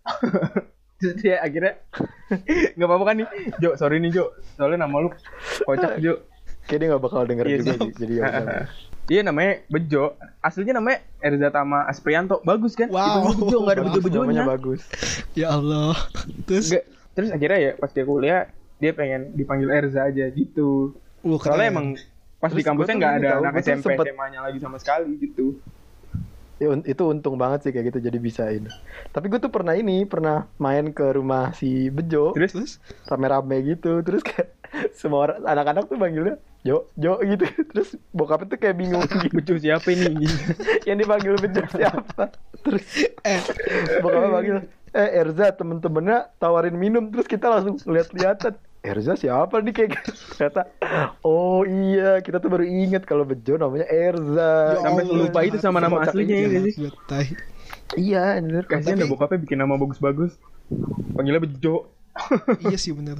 [SPEAKER 4] Jadi akhirnya nggak apa-apa kan nih Jo sorry nih Jo soalnya nama lu kocak Jo
[SPEAKER 2] Kayaknya dia nggak bakal denger
[SPEAKER 4] Iya
[SPEAKER 2] juga
[SPEAKER 4] sih.
[SPEAKER 2] sih. Jadi ya udah.
[SPEAKER 4] Iya namanya Bejo Aslinya namanya Erzatama Asprianto Bagus kan?
[SPEAKER 3] Wow.
[SPEAKER 4] Itu Bejo, nggak ada
[SPEAKER 3] Bagus,
[SPEAKER 4] bejo-bejonya
[SPEAKER 2] Namanya bagus.
[SPEAKER 3] ya Allah terus
[SPEAKER 4] Nggak. Terus akhirnya ya pas dia kuliah Dia pengen dipanggil Erza aja gitu
[SPEAKER 3] wah, keren.
[SPEAKER 4] Soalnya emang pas
[SPEAKER 2] Terus
[SPEAKER 4] di kampusnya
[SPEAKER 2] gua tuh
[SPEAKER 4] nggak
[SPEAKER 2] ini
[SPEAKER 4] ada
[SPEAKER 2] tahu,
[SPEAKER 4] anak
[SPEAKER 2] gua tuh
[SPEAKER 4] SMP
[SPEAKER 2] sempet-
[SPEAKER 4] SMA-nya lagi sama sekali gitu
[SPEAKER 2] Ya, un- itu untung banget sih kayak gitu jadi bisa ini. Tapi gue tuh pernah ini, pernah main ke rumah si Bejo
[SPEAKER 4] Terus
[SPEAKER 3] terus
[SPEAKER 2] rame-rame gitu. Terus kayak semua orang anak-anak tuh manggilnya Jo, Jo gitu. Terus bokapnya tuh kayak bingung gitu.
[SPEAKER 4] Bejo siapa ini?
[SPEAKER 2] Yang dipanggil Bejo siapa? Terus
[SPEAKER 3] eh
[SPEAKER 2] bokapnya manggil, "Eh Erza, temen-temennya tawarin minum." Terus kita langsung lihat-lihatan. Erza siapa nih kayak gitu. ternyata oh iya kita tuh baru inget kalau Bejo namanya Erza
[SPEAKER 3] Ya
[SPEAKER 4] Sampai
[SPEAKER 3] Allah.
[SPEAKER 4] lupa itu sama nama
[SPEAKER 2] Kocak
[SPEAKER 4] aslinya ya
[SPEAKER 2] ini.
[SPEAKER 4] nggak sih?
[SPEAKER 3] buat tai
[SPEAKER 2] Iya, bener.
[SPEAKER 4] Kasian dah bokapnya bikin nama bagus-bagus Panggilnya Bejo
[SPEAKER 3] iya sih bener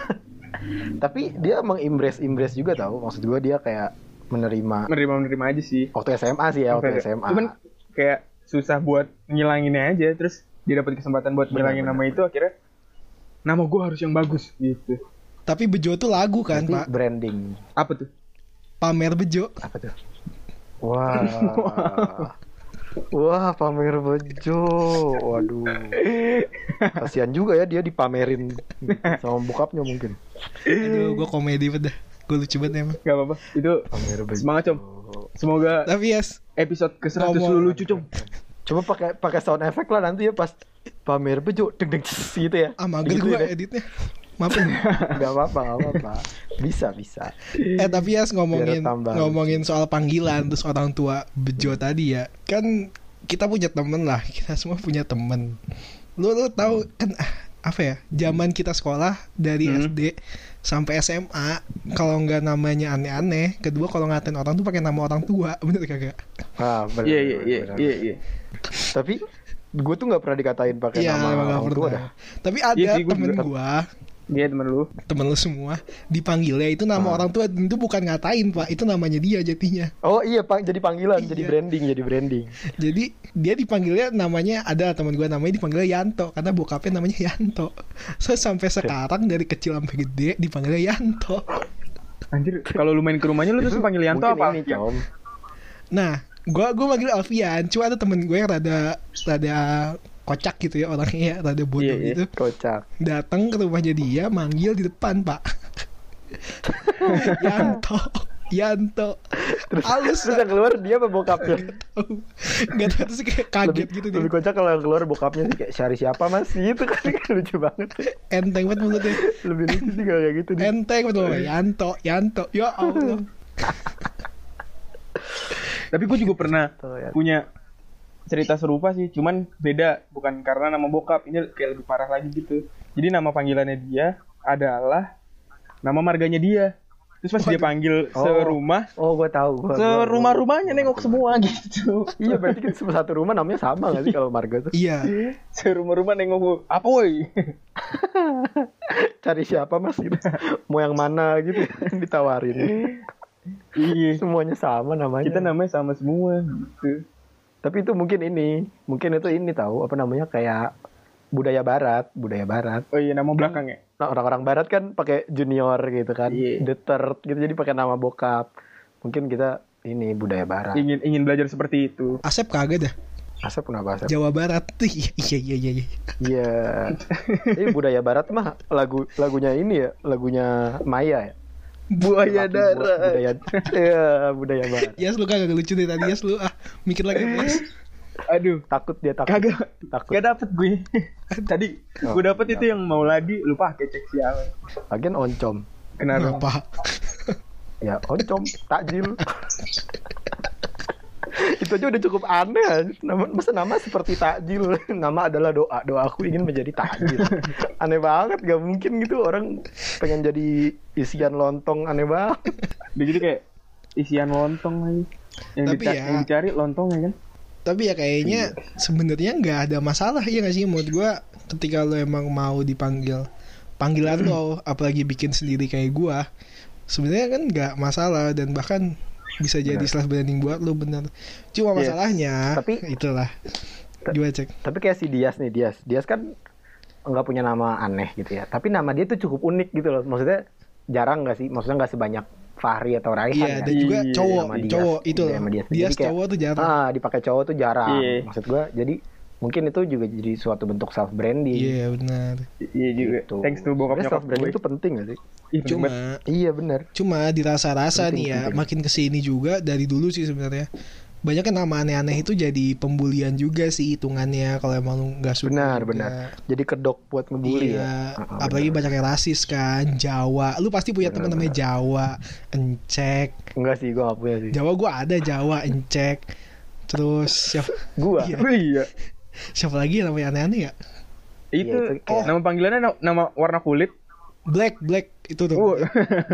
[SPEAKER 2] Tapi dia emang impress juga tahu. Maksud gua dia kayak menerima
[SPEAKER 4] Menerima-menerima aja sih
[SPEAKER 2] waktu SMA sih ya, waktu
[SPEAKER 4] Nah. Oke.
[SPEAKER 2] SMA.
[SPEAKER 4] Cuman kayak susah buat ngilanginnya aja, terus dia dapat kesempatan buat ngilangin
[SPEAKER 2] Benar,
[SPEAKER 4] nama itu akhirnya nama gue harus yang bagus gitu.
[SPEAKER 3] tapi bejo tuh lagu kan
[SPEAKER 2] Berarti
[SPEAKER 3] pak
[SPEAKER 2] branding
[SPEAKER 4] Apa tuh?
[SPEAKER 3] pamer bejo
[SPEAKER 2] apa tuh? Wah. Wah, pamer bejo. Waduh. Kasihan juga ya dia dipamerin sama bokapnya mungkin.
[SPEAKER 3] aduh gue komedi banget dah gue lucu banget emang
[SPEAKER 4] Gak apa-apa. Itu
[SPEAKER 2] Pamer bejo.
[SPEAKER 4] semangat com. Semoga
[SPEAKER 3] tapi yes
[SPEAKER 4] episode ke 100
[SPEAKER 3] Ngomong.
[SPEAKER 4] lu lucu com.
[SPEAKER 2] Coba pakai pakai sound effect lah nanti ya pas pamer bejo deng deng gitu ya.
[SPEAKER 3] ah
[SPEAKER 4] Iya
[SPEAKER 3] mager
[SPEAKER 2] Gitu
[SPEAKER 3] gue
[SPEAKER 2] ya.
[SPEAKER 3] editnya maafin
[SPEAKER 2] Gak apa-apa, gak apa-apa. Bisa, bisa.
[SPEAKER 3] eh tapi Yas ngomongin
[SPEAKER 2] Biar tambah.
[SPEAKER 3] ngomongin soal panggilan terus orang tua bejo tadi ya kan kita punya temen lah kita semua punya temen lu lu tahu kan ah, apa ya zaman kita sekolah dari
[SPEAKER 4] Hmm.
[SPEAKER 3] SD sampai SMA kalau nggak namanya aneh-aneh kedua kalau ngatain orang tuh pakai nama orang tua bener kagak
[SPEAKER 2] Nah, bener,
[SPEAKER 4] Iya iya
[SPEAKER 2] bener,
[SPEAKER 4] iya
[SPEAKER 2] bener.
[SPEAKER 4] iya iya.
[SPEAKER 2] Tapi gue tuh nggak pernah dikatain pakai
[SPEAKER 3] Iya,
[SPEAKER 2] nama
[SPEAKER 3] emang nggak
[SPEAKER 2] orang tua
[SPEAKER 3] pernah.
[SPEAKER 2] dah.
[SPEAKER 3] tapi ada
[SPEAKER 4] Iya sih, gua
[SPEAKER 3] temen
[SPEAKER 4] juga.
[SPEAKER 3] gua
[SPEAKER 4] Iya temen lu.
[SPEAKER 3] temen lu semua dipanggilnya itu
[SPEAKER 2] Hmm.
[SPEAKER 3] nama orang tua itu bukan ngatain pak itu namanya dia jadinya
[SPEAKER 2] Oh iya, Pak, jadi panggilan, jadi
[SPEAKER 3] Iya.
[SPEAKER 2] branding, jadi branding.
[SPEAKER 3] Jadi dia dipanggilnya namanya ada teman gue namanya dipanggilnya Yanto karena bokapnya namanya Yanto. So sampai sekarang dari kecil sampai gede dipanggilnya Yanto.
[SPEAKER 4] Anjir, kalau lu main ke rumahnya lu terus panggil Yanto
[SPEAKER 2] Mungkin
[SPEAKER 4] apa?
[SPEAKER 2] ini,
[SPEAKER 4] Alfian?
[SPEAKER 2] Com.
[SPEAKER 3] Nah, gue gue manggil Alfian, cuma ada temen gue yang rada rada kocak gitu ya orangnya, ya, rada bodoh
[SPEAKER 4] Iya, iya.
[SPEAKER 3] gitu.
[SPEAKER 2] Kocak.
[SPEAKER 3] Datang ke rumahnya dia manggil di depan pak. Yanto, Yanto,
[SPEAKER 2] Terus,
[SPEAKER 3] halus
[SPEAKER 2] terus yang keluar dia apa bokapnya?
[SPEAKER 3] nggak tahu sih kayak kaget
[SPEAKER 2] lebih,
[SPEAKER 3] gitu
[SPEAKER 2] lebih
[SPEAKER 3] dia.
[SPEAKER 2] kocak kalau yang keluar bokapnya sih kayak cari siapa mas gitu kan lucu banget
[SPEAKER 3] Enteng banget mulutnya.
[SPEAKER 2] lebih lucu sih kalau kayak gitu nih.
[SPEAKER 3] Enteng betul. Yanto, Yanto. Ya Allah.
[SPEAKER 4] Tapi gue juga pernah
[SPEAKER 2] Tuh, ya.
[SPEAKER 4] punya cerita serupa sih, cuman beda bukan karena nama bokap ini kayak lebih parah lagi gitu. Jadi nama panggilannya dia adalah nama marganya dia. Terus pas dia panggil
[SPEAKER 2] Oh.
[SPEAKER 4] serumah,
[SPEAKER 2] oh gue tahu gua, gua-
[SPEAKER 4] serumah-rumahnya nengok semua gitu.
[SPEAKER 2] iya berarti kan semua satu rumah namanya sama gak sih kalau marga tuh
[SPEAKER 3] Iya.
[SPEAKER 4] Serumah-rumah nengok apa woi?
[SPEAKER 2] cari siapa mas gitu mau yang mana gitu ditawarin
[SPEAKER 4] Iya.
[SPEAKER 2] semuanya sama namanya
[SPEAKER 4] Kita namanya sama semua gitu.
[SPEAKER 2] Tapi itu mungkin ini, mungkin itu ini tahu apa namanya kayak budaya barat, budaya barat.
[SPEAKER 4] Oh iya nama belakang ya.
[SPEAKER 2] Nah, orang-orang barat kan pakai junior gitu kan,
[SPEAKER 4] Iya.
[SPEAKER 2] the third gitu jadi pakai nama bokap. Mungkin kita ini budaya barat.
[SPEAKER 4] Ingin ingin belajar seperti itu.
[SPEAKER 3] Asep kagak dah.
[SPEAKER 2] Asep kenapa Asep?
[SPEAKER 3] Jawa Barat. Iya iya iya iya. iya.
[SPEAKER 2] Iya. Ini budaya barat mah lagu lagunya ini ya, lagunya Maya ya.
[SPEAKER 4] Buaya
[SPEAKER 2] Laki bu- Budaya Iya, budaya barat.
[SPEAKER 3] Yas lu kagak lucu deh tadi Yas lu ah mikir lagi Yas.
[SPEAKER 4] Aduh.
[SPEAKER 2] Takut dia takut.
[SPEAKER 4] Kagak.
[SPEAKER 2] Takut.
[SPEAKER 4] Gak dapet gue. Tadi gue dapet itu yang mau lagi lupa pakai cek Iya. siapa.
[SPEAKER 2] Lagian oncom.
[SPEAKER 4] Kenapa?
[SPEAKER 3] Kenapa?
[SPEAKER 2] Ya, oncom, takjil. itu aja udah cukup aneh anjir. nama, masa nama seperti takjil nama adalah doa doa aku ingin menjadi takjil aneh banget gak mungkin gitu orang pengen jadi isian lontong aneh banget
[SPEAKER 4] Begitu kayak isian lontong lagi. Yang,
[SPEAKER 3] Tapi
[SPEAKER 4] dica-
[SPEAKER 3] ya-
[SPEAKER 4] yang dicari lontong ya kan?
[SPEAKER 3] Tapi ya kayaknya
[SPEAKER 2] Iya.
[SPEAKER 3] sebenarnya nggak ada masalah ya nggak sih menurut gua ketika lu emang mau dipanggil panggilan
[SPEAKER 2] Hmm.
[SPEAKER 3] lo apalagi bikin sendiri kayak gua sebenarnya kan nggak masalah dan bahkan bisa jadi self branding buat lu bener cuma
[SPEAKER 4] Iya.
[SPEAKER 3] masalahnya
[SPEAKER 2] Tapi-
[SPEAKER 3] itulah gimana cek
[SPEAKER 2] tapi kayak si Dias nih Dias Dias kan nggak punya nama aneh gitu ya. Tapi nama dia tuh cukup unik gitu loh. Maksudnya jarang nggak sih? Maksudnya nggak sebanyak Fahri atau Raihan.
[SPEAKER 3] Iya,
[SPEAKER 2] kan?
[SPEAKER 3] dan juga
[SPEAKER 4] Iya,
[SPEAKER 3] cowok,
[SPEAKER 2] sama Dias.
[SPEAKER 3] cowok itu
[SPEAKER 2] Iya,
[SPEAKER 3] loh.
[SPEAKER 2] sama Dias.
[SPEAKER 3] Dias
[SPEAKER 2] Jadi kayak-
[SPEAKER 3] cowok tuh jarang.
[SPEAKER 2] Ah, dipakai cowok tuh jarang.
[SPEAKER 4] Iya.
[SPEAKER 2] Maksud gua jadi mungkin itu juga jadi suatu bentuk self branding.
[SPEAKER 3] Iya benar.
[SPEAKER 4] Iya juga. Thanks to bokap nyokap
[SPEAKER 2] self branding
[SPEAKER 4] gue.
[SPEAKER 2] Gitu. itu penting gak sih?
[SPEAKER 4] Ih,
[SPEAKER 3] Cuma
[SPEAKER 4] bener.
[SPEAKER 2] Iya benar.
[SPEAKER 3] cuma dirasa-rasa
[SPEAKER 2] Penting,
[SPEAKER 3] nih ya
[SPEAKER 2] penting.
[SPEAKER 3] makin kesini juga dari dulu sih sebenarnya. Banyak kan nama aneh-aneh itu jadi pembulian juga sih hitungannya kalau emang lu nggak suka.
[SPEAKER 2] Benar,
[SPEAKER 3] juga.
[SPEAKER 2] benar. Jadi kedok buat ngebully
[SPEAKER 3] iya,
[SPEAKER 2] ya. Ah, ah,
[SPEAKER 3] apalagi
[SPEAKER 2] benar.
[SPEAKER 3] banyak yang rasis kan, Jawa. Lu pasti punya
[SPEAKER 2] Benar,
[SPEAKER 3] teman namanya Jawa, Encek.
[SPEAKER 2] enggak sih gua gak punya sih.
[SPEAKER 3] Jawa gua ada Jawa, Encek. Terus siapa
[SPEAKER 2] Gua.
[SPEAKER 3] Iya.
[SPEAKER 4] Iya.
[SPEAKER 3] siapa lagi yang namanya aneh-aneh ya?
[SPEAKER 4] Itu,
[SPEAKER 2] itu kayak-
[SPEAKER 4] nama panggilannya na- nama warna kulit.
[SPEAKER 3] Black, Black itu tuh.
[SPEAKER 4] Uh,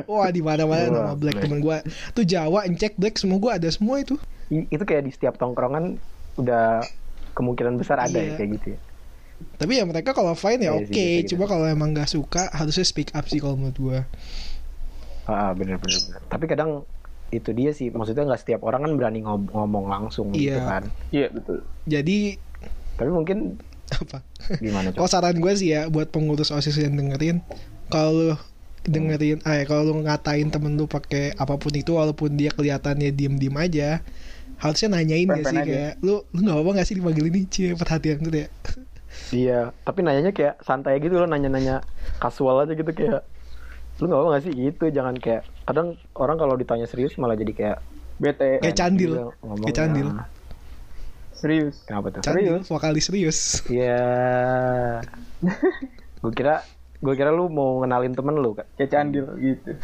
[SPEAKER 3] Wah di mana
[SPEAKER 2] Oh.
[SPEAKER 3] mana
[SPEAKER 2] Wah,
[SPEAKER 3] nama Black,
[SPEAKER 2] Black.
[SPEAKER 3] temen gue tuh Jawa, Encek, Black semua gue ada semua itu.
[SPEAKER 2] I- Itu kayak di setiap tongkrongan udah kemungkinan besar ada ya
[SPEAKER 3] Iya.
[SPEAKER 2] kayak gitu ya.
[SPEAKER 3] Tapi ya mereka kalau fine ya
[SPEAKER 2] Iya sih,
[SPEAKER 3] oke,
[SPEAKER 2] biasa gitu.
[SPEAKER 3] cuma kalau emang nggak suka harusnya speak up sih kalau menurut gue.
[SPEAKER 2] Ah, benar benar benar. Tapi kadang itu dia sih maksudnya nggak setiap orang kan berani ngob- ngomong langsung gitu
[SPEAKER 3] Iya.
[SPEAKER 2] kan.
[SPEAKER 4] iya, betul.
[SPEAKER 3] Jadi
[SPEAKER 2] Tapi mungkin
[SPEAKER 3] apa?
[SPEAKER 2] gimana
[SPEAKER 3] Kalau
[SPEAKER 2] coba?
[SPEAKER 3] saran gue sih ya buat pengurus osis yang dengerin, kalau lu dengerin, eh kalau lu ngatain temen lu pakai apapun itu walaupun dia kelihatannya diem-diem aja, harusnya nanyain ya
[SPEAKER 4] Pen-pen
[SPEAKER 3] sih
[SPEAKER 4] aja.
[SPEAKER 3] kayak lu lu nggak apa-apa nggak sih dipanggil ini cie perhatian gitu ya.
[SPEAKER 2] Iya, tapi nanyanya kayak santai gitu loh, nanya-nanya kasual aja gitu kayak lu nggak apa nggak sih gitu jangan kayak kadang orang kalau ditanya serius malah jadi kayak
[SPEAKER 4] Bete.
[SPEAKER 3] Kayak candil.
[SPEAKER 2] juga ngomongnya.
[SPEAKER 3] Kayak candil.
[SPEAKER 4] Serius.
[SPEAKER 2] kenapa tuh
[SPEAKER 3] Candil, vokalis serius.
[SPEAKER 2] iya gue kira gue kira lu mau ngenalin temen lu kan
[SPEAKER 4] Kayak candil gitu.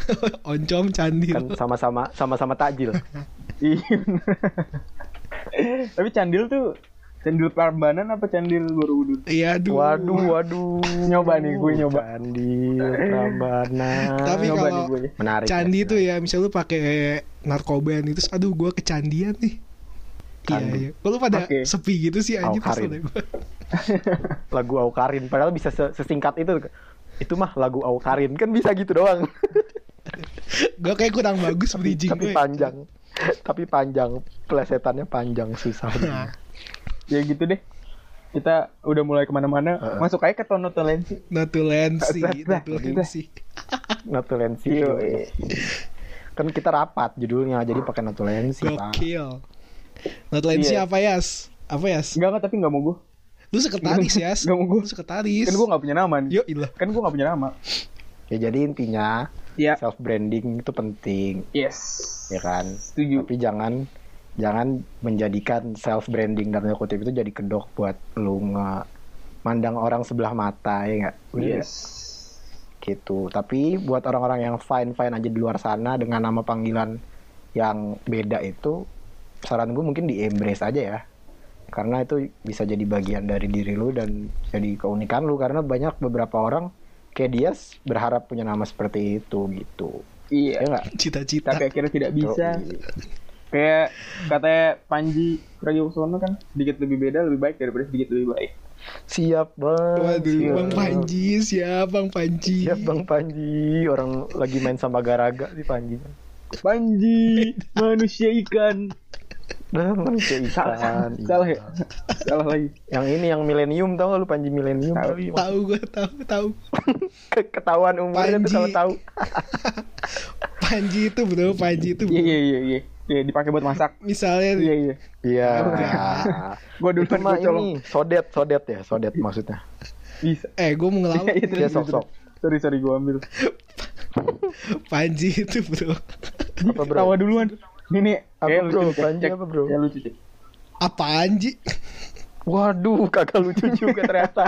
[SPEAKER 3] Oncom
[SPEAKER 2] kan
[SPEAKER 3] candil.
[SPEAKER 2] sama-sama sama-sama takjil
[SPEAKER 4] Iya. Tapi candil tuh candil Prambanan apa candil Borobudur?
[SPEAKER 3] Iya, aduh.
[SPEAKER 2] waduh waduh
[SPEAKER 4] Nyoba nih, gue nyoba.
[SPEAKER 2] candil Prambanan.
[SPEAKER 3] Tapi
[SPEAKER 4] Nyoba
[SPEAKER 3] kalau-
[SPEAKER 4] nih gue. nih.
[SPEAKER 2] menarik
[SPEAKER 3] candi
[SPEAKER 2] ya.
[SPEAKER 3] tuh ya misalnya lu pakai narkoba itu terus aduh gua kecandian nih iya
[SPEAKER 2] Candi.
[SPEAKER 3] iya Kok lu pada
[SPEAKER 4] Oke.
[SPEAKER 3] sepi gitu sih anjing pas
[SPEAKER 2] Awkarin.
[SPEAKER 3] gua
[SPEAKER 2] lagu Aukarin padahal bisa se- sesingkat itu itu mah lagu Aukarin kan bisa gitu doang
[SPEAKER 3] gua kayak kurang bagus bridging ya.
[SPEAKER 2] tapi
[SPEAKER 3] gue
[SPEAKER 2] panjang tapi panjang plesetannya panjang susah
[SPEAKER 3] nah
[SPEAKER 4] Ya gitu deh. Kita udah mulai kemana-mana. Masuk aja ke tonotolensi.
[SPEAKER 3] notulensi
[SPEAKER 4] Nah, nah,
[SPEAKER 3] notulensi
[SPEAKER 2] notulensi kan kita rapat judulnya jadi pakai notulensi Pak.
[SPEAKER 3] gokil notulensi
[SPEAKER 4] nah. Iya.
[SPEAKER 3] apa yas apa yas
[SPEAKER 4] Enggak, enggak, tapi enggak mau gue.
[SPEAKER 3] lu sekretaris yas
[SPEAKER 4] Nggak mau gua.
[SPEAKER 3] lu sekretaris
[SPEAKER 4] Kan gue nggak punya nama nih.
[SPEAKER 3] Yo ilah
[SPEAKER 4] Kan gue nggak punya nama.
[SPEAKER 2] ya jadi intinya
[SPEAKER 4] Iya.
[SPEAKER 2] self branding itu penting
[SPEAKER 4] Yes.
[SPEAKER 2] ya kan
[SPEAKER 4] Setuju.
[SPEAKER 2] tapi jangan jangan menjadikan self branding dalam tanda kutip itu jadi kedok buat lu nge mandang orang sebelah mata ya nggak Bener nggak?
[SPEAKER 4] Yes.
[SPEAKER 2] gitu. Tapi buat orang-orang yang fine-fine aja di luar sana dengan nama panggilan yang beda itu, saran gue mungkin di embrace aja ya. Karena itu bisa jadi bagian dari diri lu dan jadi keunikan lu. Karena banyak beberapa orang kayak dia berharap punya nama seperti itu gitu.
[SPEAKER 4] Iya.
[SPEAKER 2] Ya nggak?
[SPEAKER 3] cita-cita
[SPEAKER 4] Tapi akhirnya tidak bisa.
[SPEAKER 2] Yoi.
[SPEAKER 4] Kayak katanya Panji Pragiwaksono kan sedikit lebih beda lebih baik daripada sedikit lebih baik.
[SPEAKER 2] Siap bang.
[SPEAKER 3] Waduh,
[SPEAKER 4] Iya.
[SPEAKER 2] siap.
[SPEAKER 3] Bang Panji, siap Bang Panji.
[SPEAKER 2] Siap bang Panji. Orang lagi main sama garaga di Panji.
[SPEAKER 4] Panji manusia ikan.
[SPEAKER 2] Nah, manusia
[SPEAKER 4] Salah,
[SPEAKER 2] ikan.
[SPEAKER 4] salah ya. Salah lagi.
[SPEAKER 2] Yang ini yang milenium tau gak lu Panji milenium
[SPEAKER 4] Tahu.
[SPEAKER 2] kali?
[SPEAKER 3] Tahu gua, tahu, tahu.
[SPEAKER 2] Ke- ketahuan umurnya tuh
[SPEAKER 3] Panji.
[SPEAKER 2] kalau tahu.
[SPEAKER 3] Panji itu bro, Panji itu.
[SPEAKER 4] Iya
[SPEAKER 3] bro.
[SPEAKER 4] iya iya iya. Iya dipakai buat masak.
[SPEAKER 3] Misalnya nih,
[SPEAKER 4] Iya iya.
[SPEAKER 2] Iya.
[SPEAKER 4] Gua dulu
[SPEAKER 2] Itu
[SPEAKER 4] gua
[SPEAKER 2] mah
[SPEAKER 4] colong.
[SPEAKER 2] ini sodet sodet ya sodet maksudnya.
[SPEAKER 4] Bisa.
[SPEAKER 3] eh gue mau
[SPEAKER 4] Iya iya
[SPEAKER 3] ngelawak
[SPEAKER 2] Dia
[SPEAKER 4] terus terus,
[SPEAKER 2] sok-sok.
[SPEAKER 4] terus. Sorry sorry gua ambil.
[SPEAKER 3] Panji itu bro
[SPEAKER 2] Apa bro?
[SPEAKER 4] Tawa duluan. Ini nih.
[SPEAKER 2] Apa
[SPEAKER 4] eh,
[SPEAKER 2] bro?
[SPEAKER 4] lucu nih, cek,
[SPEAKER 2] Panji
[SPEAKER 4] cek.
[SPEAKER 2] apa bro?
[SPEAKER 4] Ya lucu cek.
[SPEAKER 3] apa Anji
[SPEAKER 2] Waduh, kagak lucu juga ternyata.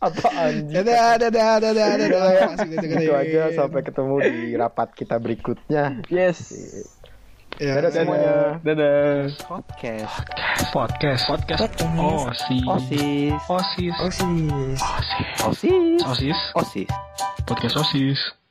[SPEAKER 2] Apa anjing?
[SPEAKER 3] dadah dadah dadah dadah Masuk, masuk,
[SPEAKER 2] Gitu
[SPEAKER 3] masuk.
[SPEAKER 2] aja sampai ketemu di rapat kita berikutnya.
[SPEAKER 4] Yes.
[SPEAKER 3] Ya.
[SPEAKER 2] Dadah semuanya.
[SPEAKER 4] Dadah. Dadah.
[SPEAKER 2] Podcast.
[SPEAKER 1] Podcast. Podcast. Osis.
[SPEAKER 5] Osis.
[SPEAKER 1] Osis.
[SPEAKER 5] Osis.
[SPEAKER 1] Osis.
[SPEAKER 5] Osis.
[SPEAKER 1] Osis.
[SPEAKER 5] Osis.
[SPEAKER 1] Podcast Osis.